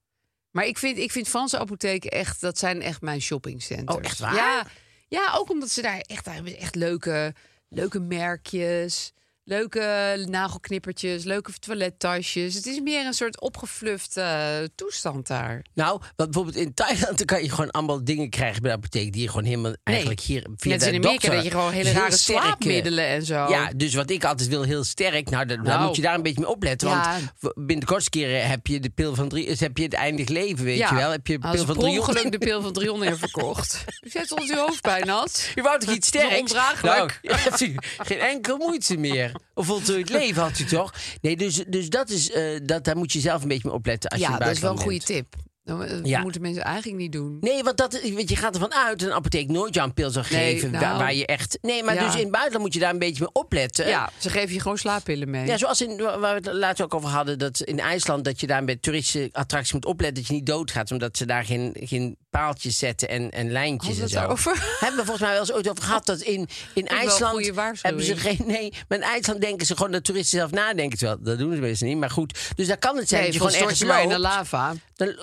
Maar ik vind, ik vind Franse apotheken echt... dat zijn echt mijn shoppingcenters.
Oh, echt waar?
Ja, ja ook omdat ze daar echt, daar hebben ze echt leuke, leuke merkjes... leuke nagelknippertjes, leuke toilettasjes. Het is meer een soort opgefluft eh, toestand daar.
Nou, want bijvoorbeeld in Thailand dan kan je gewoon allemaal dingen krijgen bij de apotheek... die je gewoon helemaal eigenlijk hier via
Net als
de
in Amerika
dokter-
dat je gewoon hele
heel
rare
sterke-
slaapmiddelen en zo.
Ja, dus wat ik altijd wil, heel sterk. Nou, dan, dan
Nou.
moet je daar een beetje mee opletten.
Ja.
Want w- binnen de kortste keren heb je de pil van drie... dus heb je het eindig leven, weet
Ja,
je wel. Heb je de pil
hadden ze
van
per
drie...
ongeluk de pil van Drion heeft verkocht. U zet ons uw hoofdpijn had.
Je wou toch iets sterks?
Ondraaglijk.
Nou, hebt u geen enkele moeite meer. Of voltooid leven had u toch? Nee, dus, dus dat is, eh, dat, daar moet je zelf een beetje mee opletten als je in
Ja,
het
dat is wel een goede
buitenland
tip. Dat eh,
Ja.
moeten mensen eigenlijk niet doen.
bent. Nee, want, dat, want je gaat ervan uit dat een apotheek nooit jou een pil zou
Nee,
geven
nou.
waar, waar je echt... Nee, maar
Ja.
dus in het buitenland moet je daar een beetje mee opletten.
Ja, ze geven je gewoon slaappillen mee.
Ja, zoals in, waar we het laatst ook over hadden, dat in IJsland dat je daar bij toeristische attracties moet opletten dat je niet doodgaat, omdat ze daar geen, geen paaltjes zetten en, en lijntjes
Hadden we
en
het
zo.
daarover?
Hebben we volgens mij wel eens ooit over gehad dat in, in
wel een
IJsland
goede
hebben
waarschuwing.
ze geen. Nee, maar in IJsland denken ze gewoon dat toeristen zelf nadenken. Terwijl dat doen ze meestal niet, maar goed. Dus daar kan het zijn
nee,
dat je
van
gewoon
stort
ergens
je maar in
loopt.
de lava.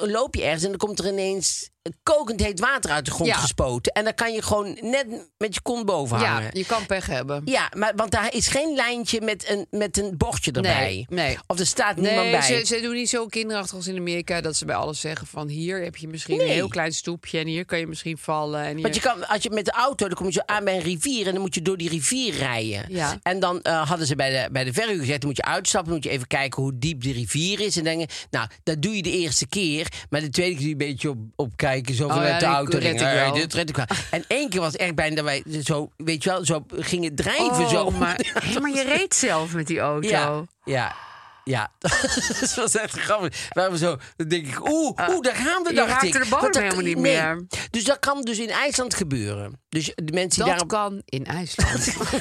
Dan loop je ergens en dan komt er ineens kokend heet water uit de grond
Ja.
gespoten. En dan kan je gewoon net met je kont boven hangen.
Ja, je kan pech hebben.
eh, Ja, maar, want daar is geen lijntje met een, met een bochtje erbij.
Nee, nee.
Of er staat niemand
Nee,
bij.
ze, ze doen niet zo kinderachtig als in Amerika... dat ze bij alles zeggen van hier heb je misschien
Nee.
een heel klein stoepje... en hier kan je misschien vallen. En hier...
Want je kan, als je met de auto, dan kom je zo aan bij een rivier en dan moet je door die rivier rijden.
Ja.
En dan eh, hadden ze bij de, bij de verhuur gezegd, dan moet je uitstappen, dan moet je even kijken hoe diep de rivier is. En denken, nou, dat doe je de eerste keer, maar de tweede keer doe je een beetje op, op kijken, zo
Oh
vanuit
ja,
de
dit
auto.
red
ringen.
ik
Hey,
wel.
dit red ik wel. En één keer was echt bijna dat wij zo, weet je wel, zo gingen drijven.
Oh
zo.
maar, Hé, maar je reed zelf met die auto.
Ja, ja. Ja, dat was echt grappig. Waarom zo? Dan denk ik, oeh, oeh, daar gaan we.
Ah, je
dacht
raakt
ik.
er de bodem
Want dat-
helemaal niet
nee.
meer.
Dus dat kan dus in IJsland gebeuren. Dus de mensen
Dat
die daarop...
kan in IJsland.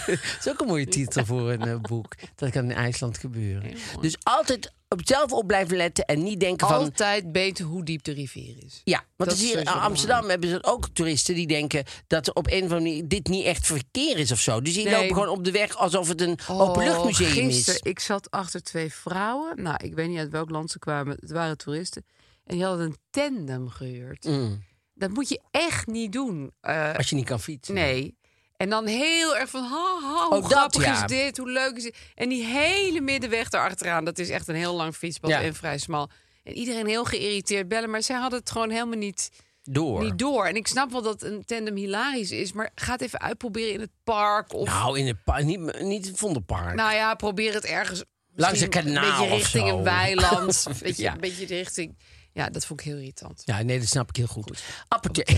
Dat is ook een mooie titel voor een eh, boek. Dat kan in IJsland gebeuren. Dus altijd op zelf op blijven letten en niet denken van...
Altijd weten hoe diep de rivier is.
Ja, want
Dat
het is
is
hier in
sowieso
Amsterdam hebben ze ook toeristen die denken dat er op een of andere manier dit niet echt verkeer is of zo. Dus die
Nee. Oh,
lopen gewoon op de weg alsof het een openluchtmuseum
gisteren,
is.
ik zat achter twee vrouwen. Nou, ik weet niet uit welk land ze kwamen. Het waren toeristen. En die hadden een tandem gehuurd.
Mm.
Dat moet je echt niet doen. Eh,
Als je niet kan fietsen.
nee. En dan heel erg van, ha, ha, hoe
Oh, dat
grappig
ja.
is dit? Hoe leuk is dit? En die hele middenweg erachteraan, dat is echt een heel lang fietspad
Ja.
en vrij smal. En iedereen heel geïrriteerd bellen, maar zij hadden het gewoon helemaal niet...
Door.
Niet door. En ik snap wel dat een tandem hilarisch is, maar ga het even uitproberen in het park. Of nou,
Nou, in het park, niet, niet het Vondelpark.
ja, probeer het ergens.
Langs een
misschien
kanaal
Een beetje
of
richting
zo.
een weiland. Een beetje,
Ja.
een beetje de richting. Ja, dat vond ik heel irritant.
ja, nee, dat snap ik heel goed. Apporteur.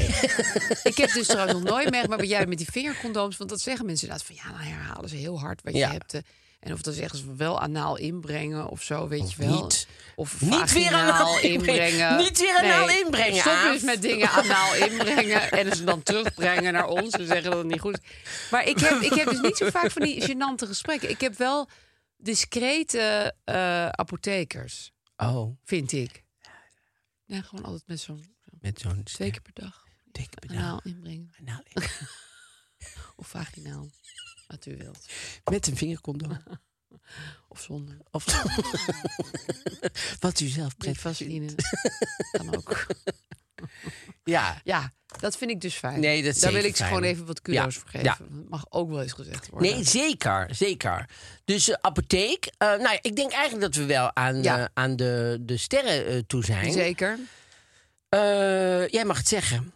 Ik heb dus trouwens nog nooit meegemaakt, maar jij met die vingercondooms, want dat zeggen mensen inderdaad van ja, dan herhalen ze heel hard wat
Ja.
je hebt. eh, en of dat zeggen ze van wel anaal inbrengen of zo, weet je wel.
niet.
Of
Niet weer
vaginaal
anaal inbrengen. Niet weer anaal inbrengen,
Stop
Aaf.
dus met dingen anaal inbrengen en ze dan terugbrengen naar ons en zeggen dat het niet goed is. Maar ik heb, ik heb dus niet zo vaak van die gênante gesprekken. Ik heb wel discrete eh, apothekers,
Oh,
vind ik. Ja, gewoon altijd met zo'n
met zo'n
twee keer per dag
dikke Nou, pedaal.
anaal inbrengen.
Anaal in-
Of vaginaal. Wat u wilt.
Met een vingercondoom.
Of zonder.
Of wat u zelf
Met
prettig vindt.
vaseline. kan ook.
Ja.
Ja, dat vind ik dus fijn.
Nee, dat is
Daar wil
zeker
ik ze gewoon
fijn.
even wat kudo's
Ja,
voor geven.
ja.
Dat mag ook wel eens gezegd worden.
Nee, zeker, zeker. Dus eh, apotheek. eh, nou, ja, ik denk eigenlijk dat we wel aan,
Ja.
eh, aan de, de sterren eh, toe zijn.
Zeker.
Eh, jij mag het zeggen.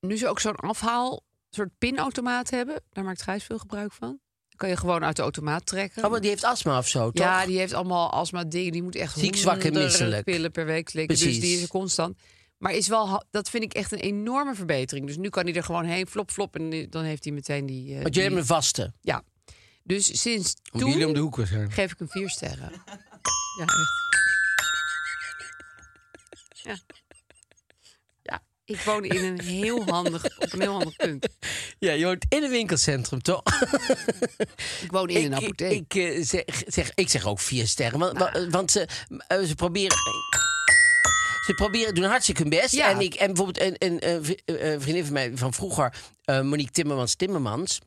Nu ze ook zo'n afhaal, soort pinautomaat hebben. Daar maakt Gijs veel gebruik van. Dan kan je gewoon uit de automaat trekken.
Oh, maar die heeft astma of zo, toch?
ja, die heeft allemaal astma dingen. Die moet echt
Ziek, zwak en
honderden
misselijk.
pillen per week slikken.
Precies.
Dus die is er constant. Maar is wel, ha- dat vind ik echt een enorme verbetering. Dus nu kan hij er gewoon heen, flop, flop. En eh, dan heeft hij meteen die... eh,
Want
die-
jullie hebben een vaste.
Ja. Dus sinds
Omdat jullie om de
toen
hoek zijn.
geef ik hem vier sterren. Ja, echt. Ja. ja, ik woon in een heel handig, op een heel handig punt.
Ja, je hoort in een winkelcentrum, toch?
Ik woon in een
ik,
apotheek. Ah.
Ik, eh, zeg, zeg, ik zeg ook vier sterren. Want, wa- want ze, eh, ze proberen. Ze proberen doen hartstikke hun best.
Ja.
En, ik, en bijvoorbeeld een, een, eh, vri- eh, eh, vriendin van mij van vroeger, eh, Monique Timmermans Timmermans.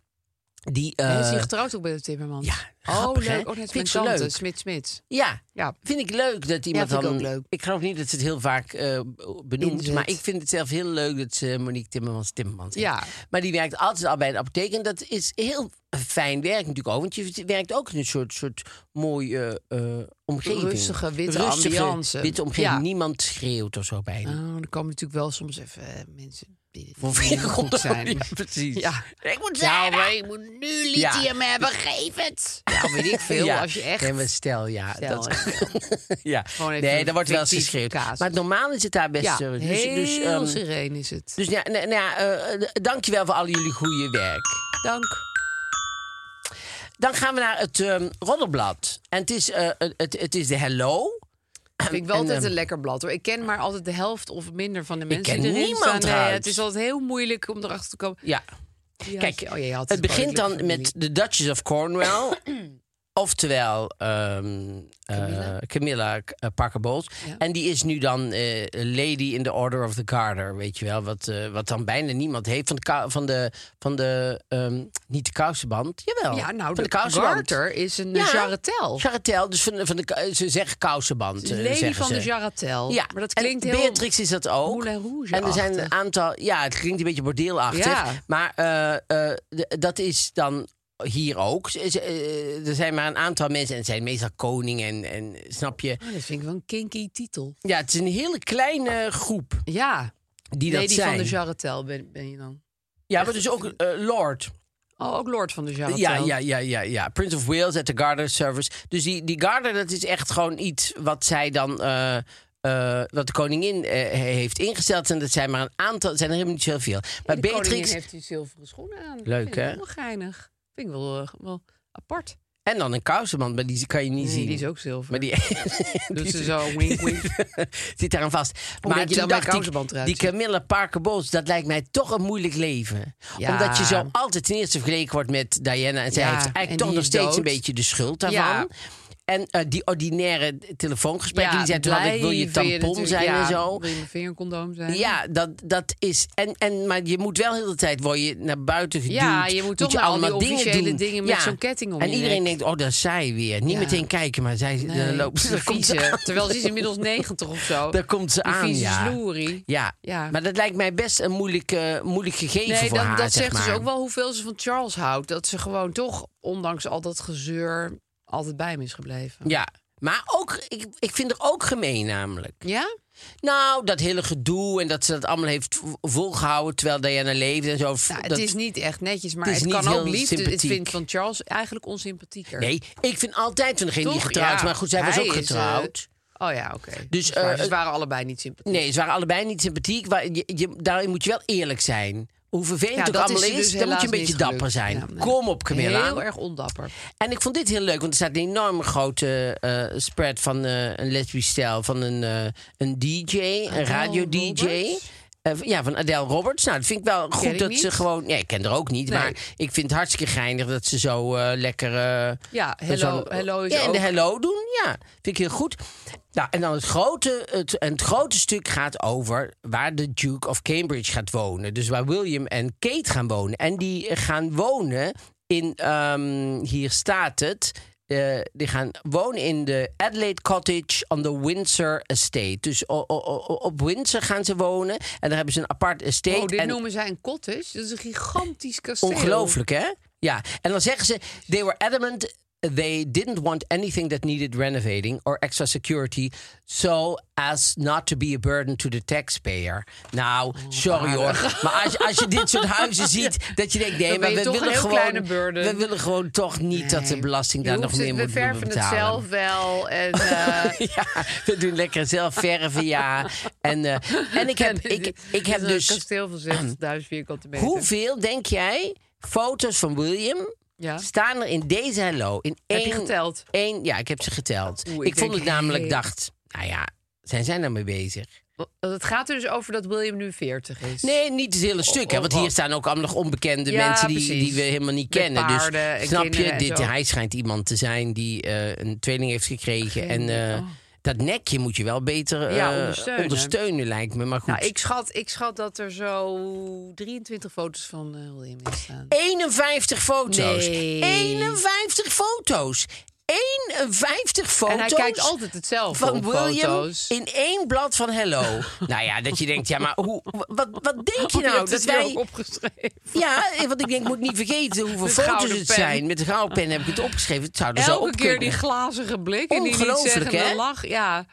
Die, eh,
Hij is hier getrouwd ook bij de Timmermans.
ja, grappig,
oh,
hè?
leuk. Oh, net
Vind ik
mijn
zo
tante,
leuk.
Smit Smit.
ja,
Ja.
vind ik leuk dat iemand
vind ik
dan...
ook leuk.
Ik geloof niet dat ze het heel vaak eh, benoemt.
Inzet.
Maar ik vind het zelf heel leuk dat ze Monique Timmermans Timmermans heet.
Ja.
Maar die werkt altijd al bij de apotheek. En dat is heel fijn werk natuurlijk ook. Want je werkt ook in een soort, soort mooie eh, eh, omgeving.
Rustige, witte ambiance.
witte omgeving.
Ja.
Niemand schreeuwt of zo bij
Oh,
je.
dan komen natuurlijk wel soms even eh, mensen die
Voor
die niet goed
vingercondoom.
zijn.
Ja, precies.
Ja.
Ik moet
Ja,
zeggen.
maar ik moet nu
Ja.
lithium hebben, geef het. Ja, weet ik veel.
Ja.
Als je echt...
Nee, maar stel, ja.
Stel, eh,
dat, ja.
Gewoon even
Nee, daar wordt wel eens
fictief
geschreeuwd.
casus.
Maar normaal is het daar best...
ja,
eh, dus,
heel
dus, ehm,
sereen is het.
Dus ja, nou, nou ja, eh, eh, dankjewel voor al jullie goede werk.
Dank.
Dan gaan we naar het ehm Roddelblad. En het is, eh, het, het is de hello.
Vind ik wel
En,
altijd
ehm,
een lekker blad hoor. Ik ken maar altijd de helft of minder van de mensen
ken
die erin
niemand
staan.
eruit.
het is altijd heel moeilijk om erachter te komen.
Ja.
Ja,
Kijk,
oh, jij had
het begint
koninklijke
dan met
familie.
de Duchess of Cornwall. Oftewel ehm, eh, Camilla, eh, Parker Bowles. En die is nu dan eh, Lady in the Order of the Garter, weet je wel. Wat, eh, wat dan bijna niemand heeft van de, kou- van de, van de ehm, niet de kousenband, jawel.
Ja, nou,
van
de garter is een, eh, jarretel.
Jarretel, dus van, de- van de, k- ze zeggen kousenband. eh,
Lady
zeggen
van
ze.
de Jarratel.
Ja,
maar dat
en
klinkt heel...
Beatrix is dat ook.
Moulin Rouge
en er zijn een
achtig.
aantal. Ja, het klinkt een beetje bordeelachtig.
Ja.
Maar eh, eh, d- dat is dan hier ook. Ze- ze- eh, er zijn maar een aantal mensen. En het zijn meestal koningen. En, en snap je?
Oh, dat vind ik wel een kinky titel.
Ja, het is een hele kleine groep
Ja,
die dat
Lady
zijn.
van de Jarratel ben, ben je dan.
ja, maar dus ook eh, Lord.
Oh, ook Lord van de Jarratel.
Ja, ja, ja, ja, ja. Prince of Wales at the Garter Service. Dus die, die Garter, dat is echt gewoon iets wat zij dan. eh, eh, wat de koningin eh, he- heeft ingesteld. En dat zijn maar een aantal. Het zijn er helemaal niet zoveel. Maar
De koningin
Beatrix.
heeft die zilveren schoenen aan.
Leuk,
Vind ik
hè?
Wel geinig. Vind ik wel, eh, wel apart.
En dan een kousenband, maar die kan je niet
Nee,
zien.
die is ook zilver.
Maar die.
Doet
die
ze zo wink wink.
zit daar aan vast.
je
toen
dan met
dacht
een kousenband
ik,
eruit
die
ziet.
Camilla Parker Bowles, dat lijkt mij toch een moeilijk leven.
Ja.
Omdat je zo altijd ten eerste vergeleken wordt met Diana. En zij
Ja,
heeft eigenlijk
en
toch
die
nog
is
steeds
dood.
een beetje de schuld daarvan.
Ja.
En eh, die ordinaire telefoongesprekken
Ja,
die zij toen had, ik wil je
blij
tampon
natuurlijk-
zijn
ja,
en zo.
Wil je mijn vingercondoom zijn?
Ja, dat, dat is. En, en, maar je moet wel heel de hele tijd word je naar buiten geduwd.
Ja, je moet toch
je
naar al die
allemaal dingen
officiële
doen.
dingen met zo'n ketting om
En
je
iedereen
nek.
denkt, oh, dat is zij weer. Niet
Ja.
meteen kijken, maar zij
Nee,
dan loopt
die
ze. dan komt ze
vieze.
aan.
Terwijl ze is inmiddels 90 of zo.
Daar komt ze
Die
aan,
vieze
ja.
sloerie.
Ja.
Ja.
maar dat lijkt mij best een moeilijk, eh, moeilijk gegeven
Nee,
voor
dat,
haar.
dat
zeg
zegt
maar.
dus ook wel hoeveel ze van Charles houdt. Dat ze gewoon toch, ondanks al dat gezeur, altijd bij hem is gebleven.
Ja, maar ook, ik, ik vind er ook gemeen namelijk.
Ja?
Nou, dat hele gedoe en dat ze dat allemaal heeft v- volgehouden terwijl Diana leefde en zo. v-
Nou,
dat-
het is niet echt netjes, maar
het
het,
is niet
kan ook
heel
liefde. Ik
sympathiek.
vind van Charles eigenlijk onsympathieker.
Nee, ik vind altijd van degene die
Toch?
getrouwd
Ja.
is. Maar goed, zij was
Hij
ook
is, eh,
getrouwd.
Oh ja, oké.
Dus,
Dat is waar.
eh,
Dus ze waren allebei niet sympathiek.
Nee, ze waren allebei niet sympathiek. Maar je, je- daarin moet je wel eerlijk zijn. Hoe vervelend
Ja,
het ook
dat
allemaal
ze
is,
dus
dan moet je een
helaas
beetje
niet
dapper
gelukt.
zijn.
Ja, nee.
Kom op, Camilla.
Heel erg ondapper.
En ik vond dit heel leuk, want er staat een enorme grote eh, spread van eh, een lesbisch stijl. Van een, eh, een DJ, een radio-DJ.
Roberts?
Eh, ja, van Adele Roberts. Nou, dat vind ik wel goed
ik
dat ze
niet.
gewoon... Nee, ik ken haar ook niet,
Nee.
maar ik vind het hartstikke geinig dat ze zo eh, lekker... eh,
Ja, hello-
zo'n-
hello is
ja, en de
ook-
hello doen, ja. Vind ik heel goed. Nou, en dan het grote, het, en het grote stuk gaat over waar de Duke of Cambridge gaat wonen. Dus waar William en Kate gaan wonen. En die gaan wonen in, ehm, hier staat het... eh, die gaan wonen in de Adelaide Cottage on the Windsor Estate. Dus o- o- o- op Windsor gaan ze wonen. En daar hebben ze een apart estate.
Oh, dit
en
noemen zij een cottage. Dat is een gigantisch kasteel.
Ongelooflijk, hè? Ja. En dan zeggen ze: They were adamant. They didn't want anything that needed renovating or extra security, so as not to be a burden to the taxpayer. Nou, sorry hoor. Maar als, als je dit soort huizen ziet, dat je denkt: nee,
Dan ben
maar
je
we
toch een
willen,
heel
gewoon,
kleine burden.
we willen gewoon toch niet dat de
Nee.
belasting
Je
daar
hoeft
nog meer
het-
moet moet
We verven
betalen.
het zelf wel. En, eh,
ja, we doen lekker zelf verven, ja. En, eh, en ik heb, ik, ik heb
Het is Een
dus.
kasteel van 60.000 vierkante meter.
Hoeveel denk jij foto's van William
Ja.
staan er in deze hello? In
Heb je
één,
geteld?
één- ja, ik heb ze geteld.
Oeh,
ik
ik
vond
denk,
het namelijk,
hey.
dacht, nou ja, zijn zij daarmee bezig?
Want Het gaat er dus over dat William nu 40 is.
Nee, niet het hele stuk. hè,
oh,
want hier
wat?
staan ook allemaal nog onbekende
Ja,
mensen die,
precies.
die we helemaal niet
Met
kennen. Dus
paarden en
snap je,
kinderen en
dit,
zo.
hij schijnt iemand te zijn die eh, een tweeling heeft gekregen.
Geen-
en eh,
oh.
dat nekje moet je wel beter
Ja,
eh,
ondersteunen.
ondersteunen, lijkt me. Maar goed.
Nou, ik schat, ik schat dat er zo 23 foto's van eh, William in staan.
51 foto's.
Nee.
51 foto's. 51 foto's.
En hij kijkt altijd hetzelfde
van
op
William
foto's.
in één blad van Hello. nou ja, dat je denkt, ja, maar hoe, wat, wat denk je
Oh,
nou?
hebt
dat
het hier
wij,
ook opgeschreven.
ja, want ik denk, ik moet niet vergeten hoeveel
Met
foto's
gouden
het
pen.
zijn. Met de gouden pen heb ik het opgeschreven. Het zou er zo
Elke
op
keer die
kunnen.
glazige blik en die niet
Ongelooflijk,
zeggen
hè?
de lach. Ja.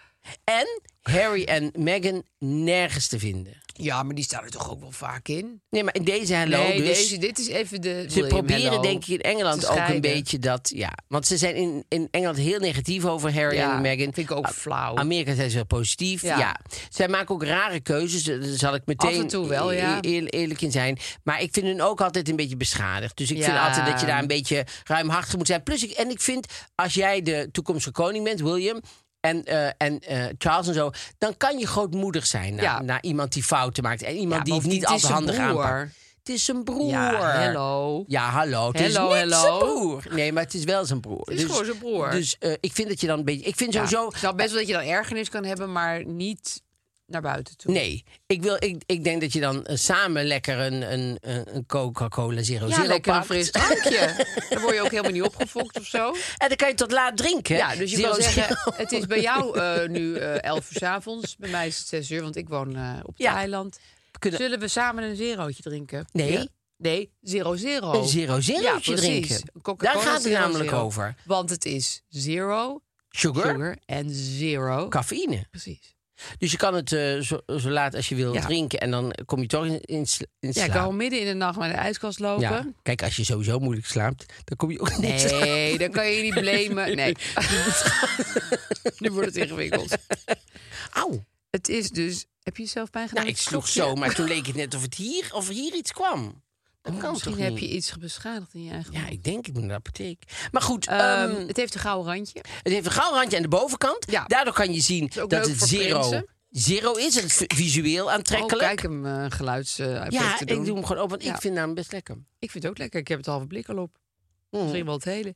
En Harry en Meghan nergens te vinden.
ja, maar die staan er toch ook wel vaak in?
Nee, maar in deze Hello
nee,
dus...
deze, dit is even de
Ze
William
proberen
Hello
denk ik in
te
Engeland ook een
scheiden.
beetje dat, ja. Want ze zijn in, in Engeland heel negatief over Harry
Ja,
en Meghan.
vind ik ook
A-
flauw.
Amerika zijn ze wel positief, ja.
Ja.
Zij maken ook rare keuzes, eh, daar zal ik meteen
Af en toe wel,
e-
ja.
eer- eerlijk in zijn. Maar ik vind hun ook altijd een beetje beschadigd. Dus ik vind
Ja.
altijd dat je daar een beetje ruimhartig moet zijn. Plus, ik, en ik vind, als jij de toekomstige koning bent, William... En, eh, en eh, Charles en zo, dan kan je grootmoedig zijn naar,
Ja.
naar iemand die fouten maakt. En
Ja,
iemand die
maar
het niet
bovendien,
altijd
het is
handig
zijn broer.
aanpakt. Het is zijn broer.
Ja, hallo.
Ja, hallo. Het
Hello,
is niet
hello.
zijn broer. Nee, maar het is wel zijn broer.
Het is gewoon zijn broer.
Dus eh, ik vind dat je dan een beetje... Ik vind
Ja,
sowieso...
Ik snap best wel dat je dan ergernis kan hebben, maar niet naar buiten toe.
Nee, ik, wil, ik, ik denk dat je dan eh, samen lekker een, een, een een Coca-Cola Zero
Ja,
Zero
lekker een
pakt.
fris drankje. Dan word je ook helemaal niet opgefokt of zo.
En dan kan je tot laat drinken. hè?
Ja, dus je
Zero
wil zeggen,
Zero.
het is bij jou eh, nu eh 11 uur 's avonds. Bij mij is het 6 uur, want ik woon eh, op het
Ja.
eiland.
kunnen-
Zullen we samen een zerootje drinken?
Nee.
Ja. Nee, zero zero.
Een zero zerootje
ja, precies.
drinken.
Een Coca-Cola
Daar gaat het
zero
namelijk
zero.
over.
Want het is zero,
Sugar,
sugar en zero.
cafeïne.
Precies.
Dus je kan het eh, zo, zo laat als je wil
Ja.
drinken. En dan kom je toch in, in, sla- in
Ja, ik
slaap.
kan gewoon midden in de nacht naar de ijskast lopen.
Ja. Kijk, als je sowieso moeilijk slaapt, dan kom je ook niet in slaap.
Nee, dan kan je niet blamen. Nee. nu wordt het ingewikkeld.
Auw.
Het is dus... Heb je jezelf pijn gedaan?
Nou, ik sloeg zo, maar toen leek het net of, het hier, of hier iets kwam. Dat kan
Misschien
toch
heb
niet?
je iets beschadigd in je eigen
Ja,
hand.
ik denk ik moet naar de apotheek. Maar goed,
Ehm,
ehm,
het heeft een gouden randje.
het heeft een gouden randje aan de bovenkant.
Ja.
Daardoor kan je zien
ook
dat
leuk
het
voor
zero,
prinsen.
zero is. Het is visueel
Oh,
aantrekkelijk.
kijk hem eh geluids eh,
ja,
te
ik
doen.
doe hem gewoon open, want
Ja.
ik vind hem best lekker.
Ik vind het ook lekker. Ik heb het halve blik al op.
Hmm.
Misschien wel het hele.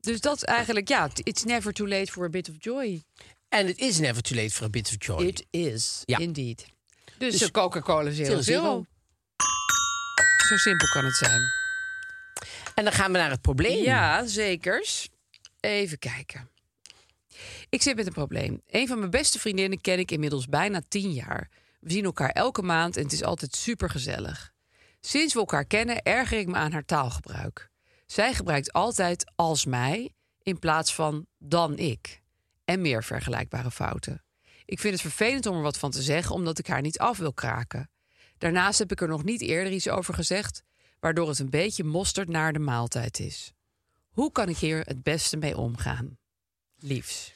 Dus dat is eigenlijk, ja, t- it's never too late for a bit of joy.
En het is never too late for a bit of joy.
It is,
Ja.
indeed. Dus,
Dus
een Coca-Cola zero,
Zero Zero.
zero. Zo simpel kan het zijn.
En dan gaan we naar het probleem.
Ja, zekers. Even kijken. Ik zit met een probleem. Een van mijn beste vriendinnen ken ik inmiddels bijna tien jaar. We zien elkaar elke maand en het is altijd supergezellig. Sinds we elkaar kennen erger ik me aan haar taalgebruik. Zij gebruikt altijd als mij in plaats van dan ik. En meer vergelijkbare fouten. Ik vind het vervelend om er wat van te zeggen omdat ik haar niet af wil kraken. Daarnaast heb ik er nog niet eerder iets over gezegd, waardoor het een beetje mosterd naar de maaltijd is. Hoe kan ik hier het beste mee omgaan? Liefs.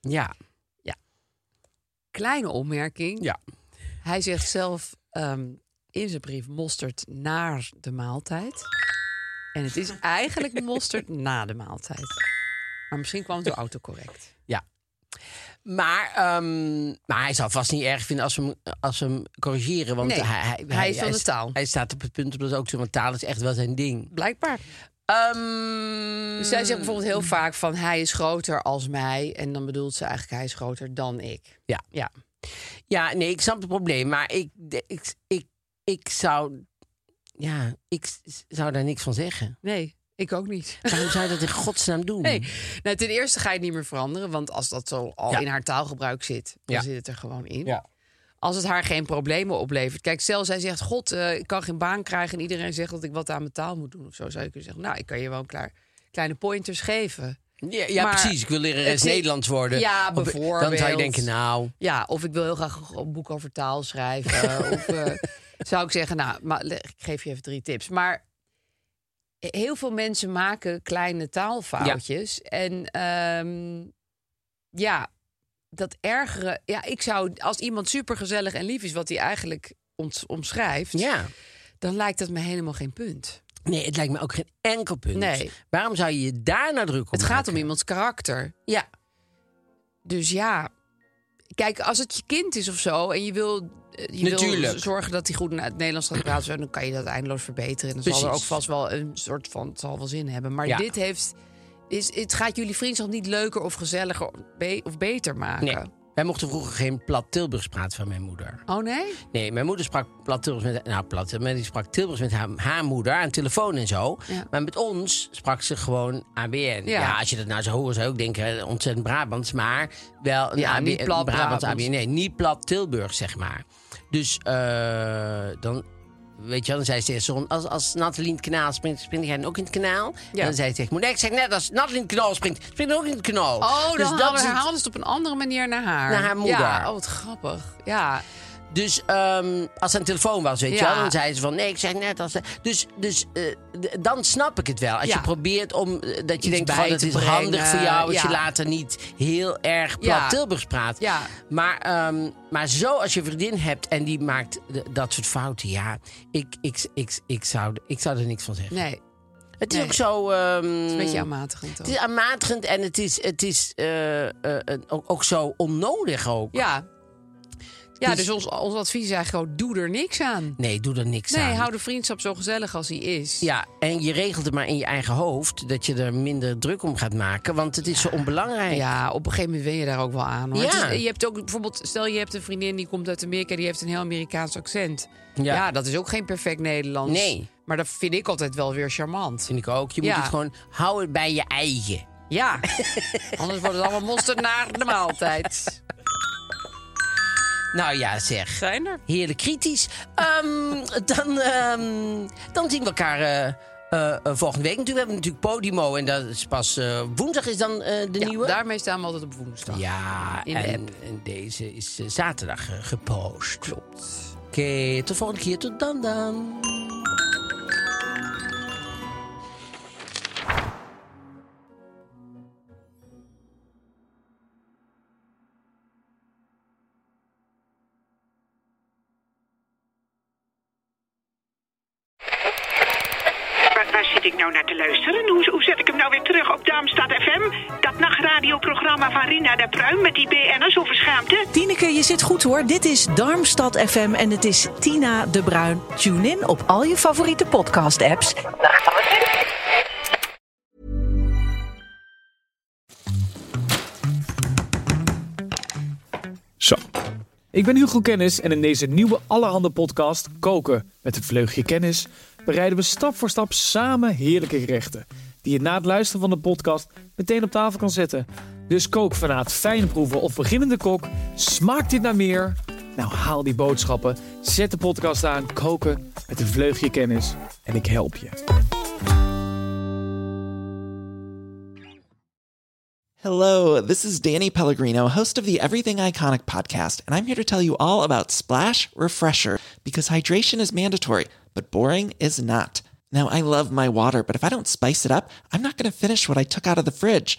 Ja.
Kleine opmerking.
Ja.
Hij zegt zelf ehm, in zijn brief mosterd naar de maaltijd. En het is eigenlijk mosterd na de maaltijd. Maar misschien kwam het door autocorrect.
ja. Maar, ehm, maar hij zal vast niet erg vinden als we hem, als we hem corrigeren. Want
Nee,
hij, hij,
hij is van de taal.
Hij staat op het punt om dat ook te doen, want taal is echt wel zijn ding.
Blijkbaar.
Ehm,
Dus zij zegt bijvoorbeeld heel vaak van hij is groter als mij. En dan bedoelt ze eigenlijk hij is groter dan ik.
Ja.
Ja.
Ja, nee, ik snap het probleem. Maar ik, de- ik, ik, ik zou... Ja, ik s- zou daar niks van zeggen.
Nee, ik ook niet.
Waarom zou je dat in godsnaam doen?
Nee. Nou, ten eerste ga je het niet meer veranderen. Want als dat zo al
Ja.
in haar taalgebruik zit, dan
Ja.
zit het er gewoon in.
Ja.
Als het haar geen problemen oplevert. Kijk, stel zij zegt, god, eh, ik kan geen baan krijgen... en iedereen zegt dat ik wat aan mijn taal moet doen of zo... zou je kunnen zeggen, nou, ik kan je wel een klaar, kleine pointers geven.
Ja, ja,
Maar
precies. Ik wil leren
het
eens
is-
Nederlands worden.
Ja,
Of- Dan zou je
bijvoorbeeld.
denken, nou...
Ja, of ik wil heel graag een boek over taal schrijven. of eh, zou ik zeggen, nou, maar, le- ik geef je even drie tips. Maar heel veel mensen maken kleine taalfoutjes. En ehm, ja, dat ergeren... Ja, ik zou, als iemand supergezellig en lief is... wat hij eigenlijk ons omschrijft...
Ja.
dan lijkt dat me helemaal geen punt.
Nee, het lijkt me ook geen enkel punt.
Nee.
Waarom zou je je daar nou druk op
Het gaat om
maken?
iemands karakter.
Ja.
Dus ja, kijk, als het je kind is of zo en je wil, eh, je wil
Natuurlijk.
zorgen dat hij goed naar het Nederlands gaat praten, zo, dan kan je dat eindeloos verbeteren. En dan zal er ook
Precies.
vast wel een soort van, het zal wel zin hebben. Maar
Ja.
dit heeft, is, het gaat jullie vriendschap niet leuker of gezelliger of be- of beter maken.
Nee. Wij mochten vroeger geen plat Tilburgs praten van mijn moeder.
Oh nee?
Nee, mijn moeder sprak plat Tilburgs met, nou, plat, maar die sprak Tilburgs met haar, haar moeder aan de telefoon en zo.
Ja.
Maar met ons sprak ze gewoon ABN. Ja. als je dat nou zou horen, zou je ook denken eh, ontzettend Brabants. Maar wel een
Ja,
ABN,
niet plat
Brabants
Brabants.
ABN. Nee, niet plat Tilburg, zeg maar. Dus eh, dan, weet je wel, dan zei ze tegen Son, als, als Nathalie in het kanaal springt, spring jij dan ook in het kanaal?
Ja.
Dan zei ze tegen moeder, nee, ik zeg net als Nathalie in het kanaal springt, spring ik ook in het kanaal.
Oh, dan
dus
dus
is het-
herhaalden ze het op een andere manier naar haar.
Naar haar moeder.
Ja, oh wat grappig. Ja,
Dus ehm, als ze aan de telefoon was, weet je
Ja.
wel, dan zei ze van nee, ik zeg net als. Dus, dus eh, d- dan snap ik het wel. Als
Ja.
je probeert om eh, dat je
Iets
denkt,
bij
van, dat
te
is
brengen,
handig voor jou, als
ja.
je later niet heel erg plat
Ja.
Tilburgs praat.
Ja.
Maar, ehm, maar zo als je een vriendin hebt en die maakt d- dat soort fouten, ja, ik, ik, ik, ik, zou, ik zou er niks van zeggen.
nee, het
het is
nee.
ook zo. ehm,
is een beetje aanmatigend
het is
toch?
aanmatigend en het is, het is eh, eh, eh, ook, ook zo onnodig ook.
Ja,
Ja, dus ons, ons advies is eigenlijk gewoon, doe er niks aan.
Nee, doe er niks aan.
Nee, hou de vriendschap zo gezellig als die is.
Ja, en je regelt het maar in je eigen hoofd dat je er minder druk om gaat maken, want het is zo onbelangrijk.
Ja, op een gegeven moment wen je daar ook wel aan. Hoor.
Ja.
Het is- je hebt ook bijvoorbeeld, stel je hebt een vriendin die komt uit Amerika, die heeft een heel Amerikaans accent.
Ja.
Ja, dat is ook geen perfect Nederlands.
Nee.
Maar dat vind ik altijd wel weer charmant.
Vind ik ook. Je moet
Ja.
het gewoon houden bij je eigen.
Ja, anders wordt het allemaal monster naar de maaltijd.
Nou ja, zeg.
Zijn er?
Heerlijk kritisch. Ehm, dan, ehm, dan zien we elkaar eh, eh, eh, volgende week. Natuurlijk, we hebben natuurlijk Podimo en dat is pas eh, woensdag is dan eh, de
Ja,
nieuwe.
daarmee staan we altijd op woensdag.
Ja,
In de
en,
app.
en deze is eh, zaterdag eh, gepost. Klopt. Oké, tot volgende keer. Tot dan dan.
Waar, waar zit ik nou naar te luisteren? Hoe, hoe zet ik hem nou weer terug op Darmstad FM? Dat nachtradioprogramma van Rina de Pruim met die BN'ers over schaamte?
Tineke, je zit goed hoor. Dit is Darmstad FM en het is Tina de Bruin. Tune in op al je favoriete podcast-apps.
Zo. Ik ben Hugo Kennis en in deze nieuwe Allerhande podcast Koken met een vleugje kennis bereiden we stap voor stap samen heerlijke gerechten die je na het luisteren van de podcast meteen op tafel kan zetten. Dus kookfanaat, fijnproever of beginnende kok, smaakt dit naar meer? Nou haal die boodschappen, zet de podcast aan, koken met een vleugje kennis en ik help je.
Hello, this is Danny Pellegrino, host of the Everything Iconic podcast, and I'm here to tell you all about Splash Refresher because hydration is mandatory, but boring is not. Now, I love my water, but if I don't spice it up, I'm not going to finish what I took out of the fridge.